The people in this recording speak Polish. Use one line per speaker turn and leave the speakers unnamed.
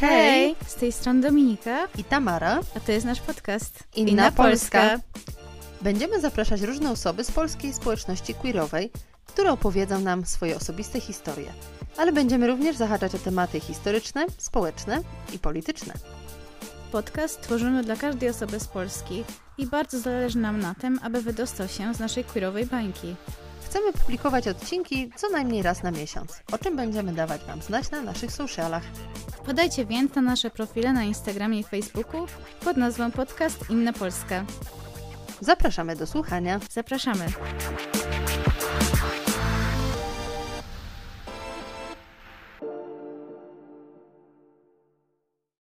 Hej!
Z tej strony Dominika,
I Tamara.
a to jest nasz podcast
Inna Będziemy zapraszać różne osoby z polskiej społeczności queerowej, które opowiedzą nam swoje osobiste historie. Ale będziemy również zahaczać o tematy historyczne, społeczne i polityczne.
Podcast tworzymy dla każdej osoby z Polski i bardzo zależy nam na tym, aby wydostał się z naszej queerowej bańki.
Chcemy publikować odcinki co najmniej raz na miesiąc, o czym będziemy dawać Wam znać na naszych socialach.
Wpadajcie więc na nasze profile na Instagramie i Facebooku pod nazwą podcast Inna Polska.
Zapraszamy do słuchania.
Zapraszamy!